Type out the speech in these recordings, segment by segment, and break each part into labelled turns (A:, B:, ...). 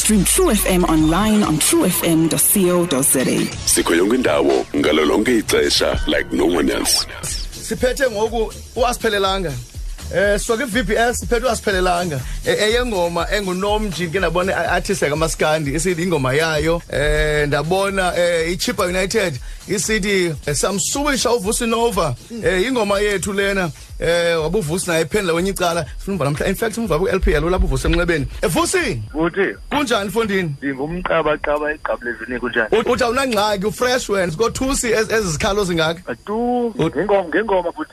A: Stream True FM online on truefm.co.za.
B: sikho yonke indawo ngalo lonke ixesha like no one else
C: siphethe ngoku uasiphelelanga eh soke i-vps siphethe uasiphelelanga E- eyengoma engunomji ke ndabona i- artist yakamaskandi isithi ingoma yayo eh ndabona eh ichipa united isithi eh, samsubisha uvusi nova eh ingoma yethu lena eh wabuvusi naye ephendla kwenye icala sifuna uba namhla in fact umva ku-lpl ulapho uvusi emnxebeni evusi
D: kuthi
C: kunjani mfondini
D: ndingumqabaqaba egqabulezini kunjani
C: U- uthi awunangxaki ufresh wena sikothusi ez- ezi zikhalo zingaka
D: tu ngengoma ngengoma futhi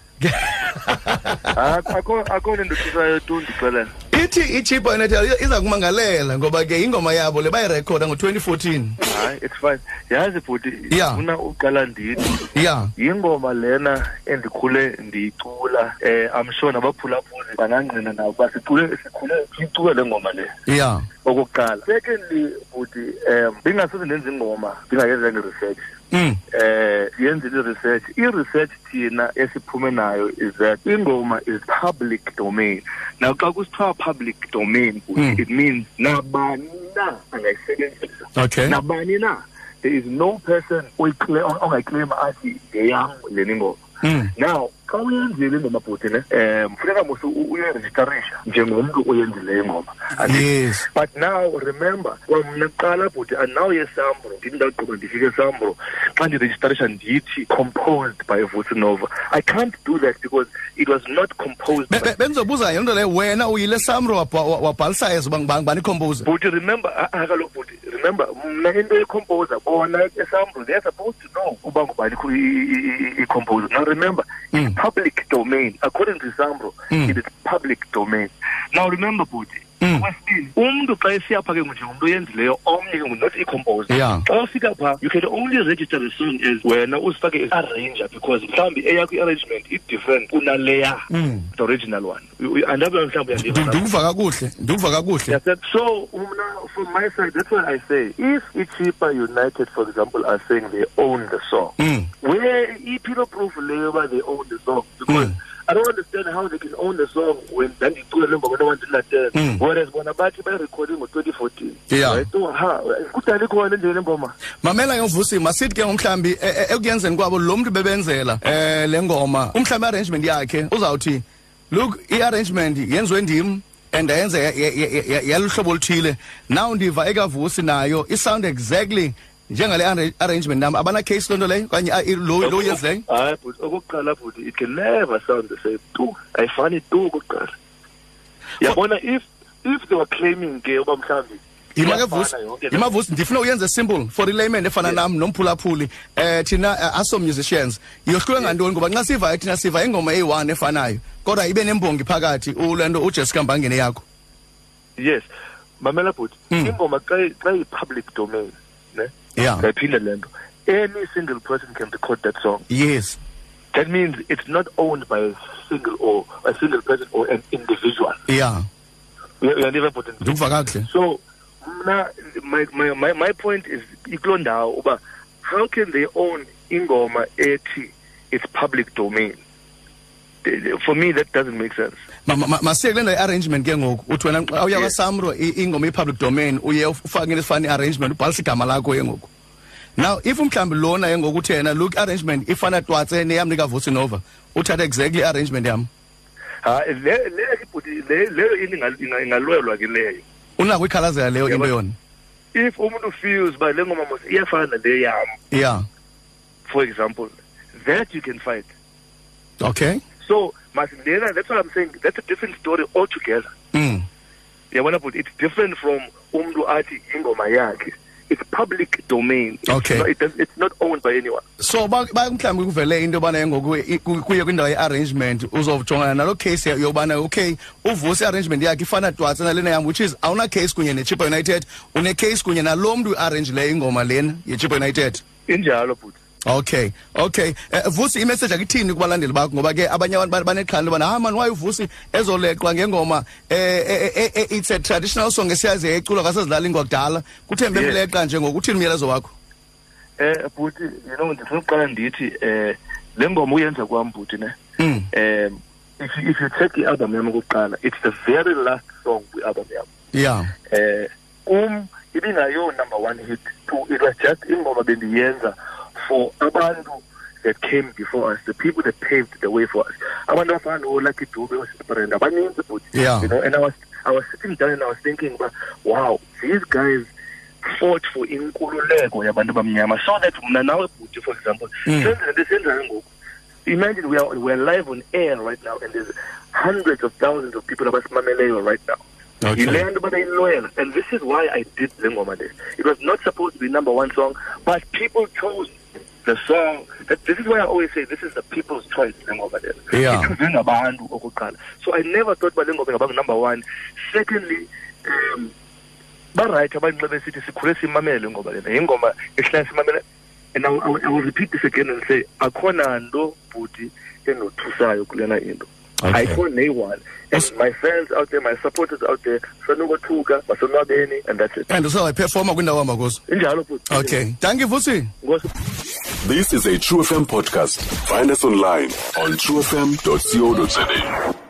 D: Ah, akho akho nto ndothusayo tu ndixelela
C: ithi ichipa united iza- iza kumangalela ngoba ke ingoma yabo le bayirekhoda ngo-2014
D: hayi it's fine yazi bhuti
C: Yeah.
D: funa uqala ndithi
C: ya
D: yingoma lena endikhule ndiyicula eh i'm sure nabaphulaphuli bangangqina nabo uba sicule sikhule siyicula le ngoma le
C: ya
D: okokuqala secondly bhuti um ndingasoze ndenza ingoma ndingayenzanga i-research
C: Mm.
D: eh yenzile i-research i-research thina esiphume nayo is that ingoma is public domain now xa kusithiwa public domain
C: Mm.
D: it means nabani na angayisebenzisa
C: okay
D: nabani na there is no person oyiclaim- ongayiclaim athi ngeyam leni ngoma
C: Mm.
D: now xa uyenzile ingoma bhuti ne um funeka mos uyerejistarisha njengomntu oyenzileyo ingoma
C: Hmm.
D: Andithi
C: yes
D: but now remember kwamna kuqala bhuti andinawo yesambro ndithi ndagqiba ndifike esambro xa ndirejistarisha ndithi composed by vusi nova i can't do that because it was not composed
C: Be-
D: by
C: be- bendizobuza yonto leyo wena uyile samro wabha- wa- wabhalisa ezo uba ngubani ngubani ikhompoza
D: bhuti remember ah kaloku bhuti remember mna into yecomposer bona esambro they're supposed to know uba ngubani ikho- i- i- i- i-composer now remember
C: Mm.
D: it's public domain according to isambro
C: Mm.
D: it is public domain now remember bhuti
C: Mm.
D: okwesibini umntu xa esiyapha ke njengomuntu oyenzileyo omnye ke not i-composer
C: Yeah.
D: xa ufika phaa you can only register the song as wena uzifake as arranger because mhlawumbi eyakho i-arrangement i-different kunaleya
C: Mm.
D: the original one You- you- andabuya mhlawumbi
C: Ndi-
D: uyandiva na?
C: ndikuva kakuhle ndikuva kakuhle
D: Yes, sir. So, Umna, from my side, that's what I say. If Ichipa United, for example, are saying they own the song,
C: Mm.
D: where Ipilo Proof Labour, they own the song. Because
C: Mm.
D: I don't understand how they can own the song when then you two alone, but no one did not tell.
C: Mm.
D: Whereas Bonabati by recording was 2014.
C: Yeah.
D: Right? So, ha, kutali kuwa nje ngoma.
C: mamela ke mvusi masithi ke umhlambi e- e- ekuyenzeni kwabo lo mntu bebenzela eh le ngoma umhlambi arrangement yakhe uzawuthi look i-arrangement yenziwe ndim and ayenze yaluhlobo oluthile now ndiva ekavusi nayo i-sound exactly njengale arra- arrangement nam abanacase loo nto leyo okanye a- i- lo lo yenzileyo
D: Hayi, but okokuqala futhi it can never sound the same. Tu, ayifani tu okokuqala. Yabona if if they were claiming ke uba mhlambi
C: yimakevusi yimavusi ndifuna uyenze simple for ilayman efana nam nomphulaphuli um thina eh, aso musicians yohluke ngantoni ngoba nxa sivayo thina siva ingoma eyi-one efanayo kodwa ibe nembongi phakathi ule nto ujessica mbangene yakho
D: yes mamela bhuti
C: Mm.
D: ingoma xa xa iyi-public domain ne
C: Yeah.
D: ndayiphinde le nto any single person can record that song
C: yes
D: that means it's not owned by a single or a single person or an individual
C: ya
D: Uya- uyandiva bhuti
C: ndikuva kakuhle
D: so mna my, my, my, my point is ikuloo ndawo uba how can they own ingoma ethi it's public domain They- they- for me that doesn't make sense
C: Ma- ma- ma- masiye kule nto i-arrangement ke ngoku uthi wena xa uya
D: Yes.
C: kwasamro i- ingoma i-public domain uye uf- ufake into esifana i-arrangement ubhalisa igama lakho ke ngoku now if mhlawumbi lona ke ngoku uthi yena look i-arrangement ifana twatse neyam likavusi nova uthathe exactly i-arrangement yam
D: ha le- le- ibhuti- le- leyo into ingal- inga- ingalwelwa ke leyo
C: unako ikhalazela leyo into
D: Yabona.
C: yona
D: if umuntu feels uba le ngoma mos iyafana le yam
C: ya
D: for example that you can fight
C: okay
D: so masilena that's what i'm saying that's a different story altogether
C: mm.
D: yabona but it's different from umntu athi ingoma yakhe it's public domain it's
C: Okay.
D: not, it does, it's not owned by anyone
C: so ba ba- mhlawumbi kuvele into yobana ke ngoku i- ku- kuye kwindawo ye-arrangement uzojongana nalo case ya- yobana okay uvusa i-arrangement yakhe ifana twatsa nalena yam which is awuna case kunye nechipa united une case kunye nalo mntu uarrangileyo ingoma lena yechipa united
D: injalo but
C: okay okay uh, vusi imeseji akithini kubalandeli bakho ngoba ke abanye abantu ba- banexhala into yobana "Ah, ha mani waye uvusi ezoleqwa ngengoma um eh, eh, eh, it's a traditional song esiyaziyo eculwa kwasezilalini kwakudala kuthembe
D: Yes.
C: mleqa nje ngoku uthini umyalezo wakho
D: eh bhuti you know ndifuna ukuqala ndithi eh le ngoma uyenza kwam bhuti ne
C: Mm.
D: um if, you- if you check i-album yam okokuqala it's the very last song kwi-album yam
C: yeah
D: eh um ibingayo number one hit two it was just ingoma bendiyenza for abantu that came before us the people that paved the way for us abantu abafana noLucky Dube oSibrenda abaninzi but
C: Yeah.
D: you know and I was I was sitting down and I was thinking but wow these guys fought for inkululeko yabantu bamnyama so that mna nawe bhuti for example
C: Mm.
D: senze into esenzayo ngoku imagine we are, we are live on air right now and there's hundreds of thousands of people abasimameleyo right now
C: Okay.
D: Yile nto babeyiloyela and this is why i did le ngoma le it was not supposed to be number one song but people chose the song that, this is why i always say this is the people's choice le ngoma le
C: Yeah.
D: ichuzwe ngabantu okokuqala so i never thought uba le ngoma ingaba number one secondly um barayithi abanxa besithi sikhule simamele ngoba lena yingoma ehlala simamele and I, will- I, will- I will repeat this again and say akhona nto bhuti enothusayo kulena into
C: Okay.
D: ayikho neyi-one and my fans out there my supporters out there sanokothuka basonwabeni and that's it
C: and usawuyiphefoma kwindawo hamba kuzo
D: injalo bhuti
C: okay danki vusi
D: Ngosi-
B: This is a True FM podcast. Find us online on truefm.co.za.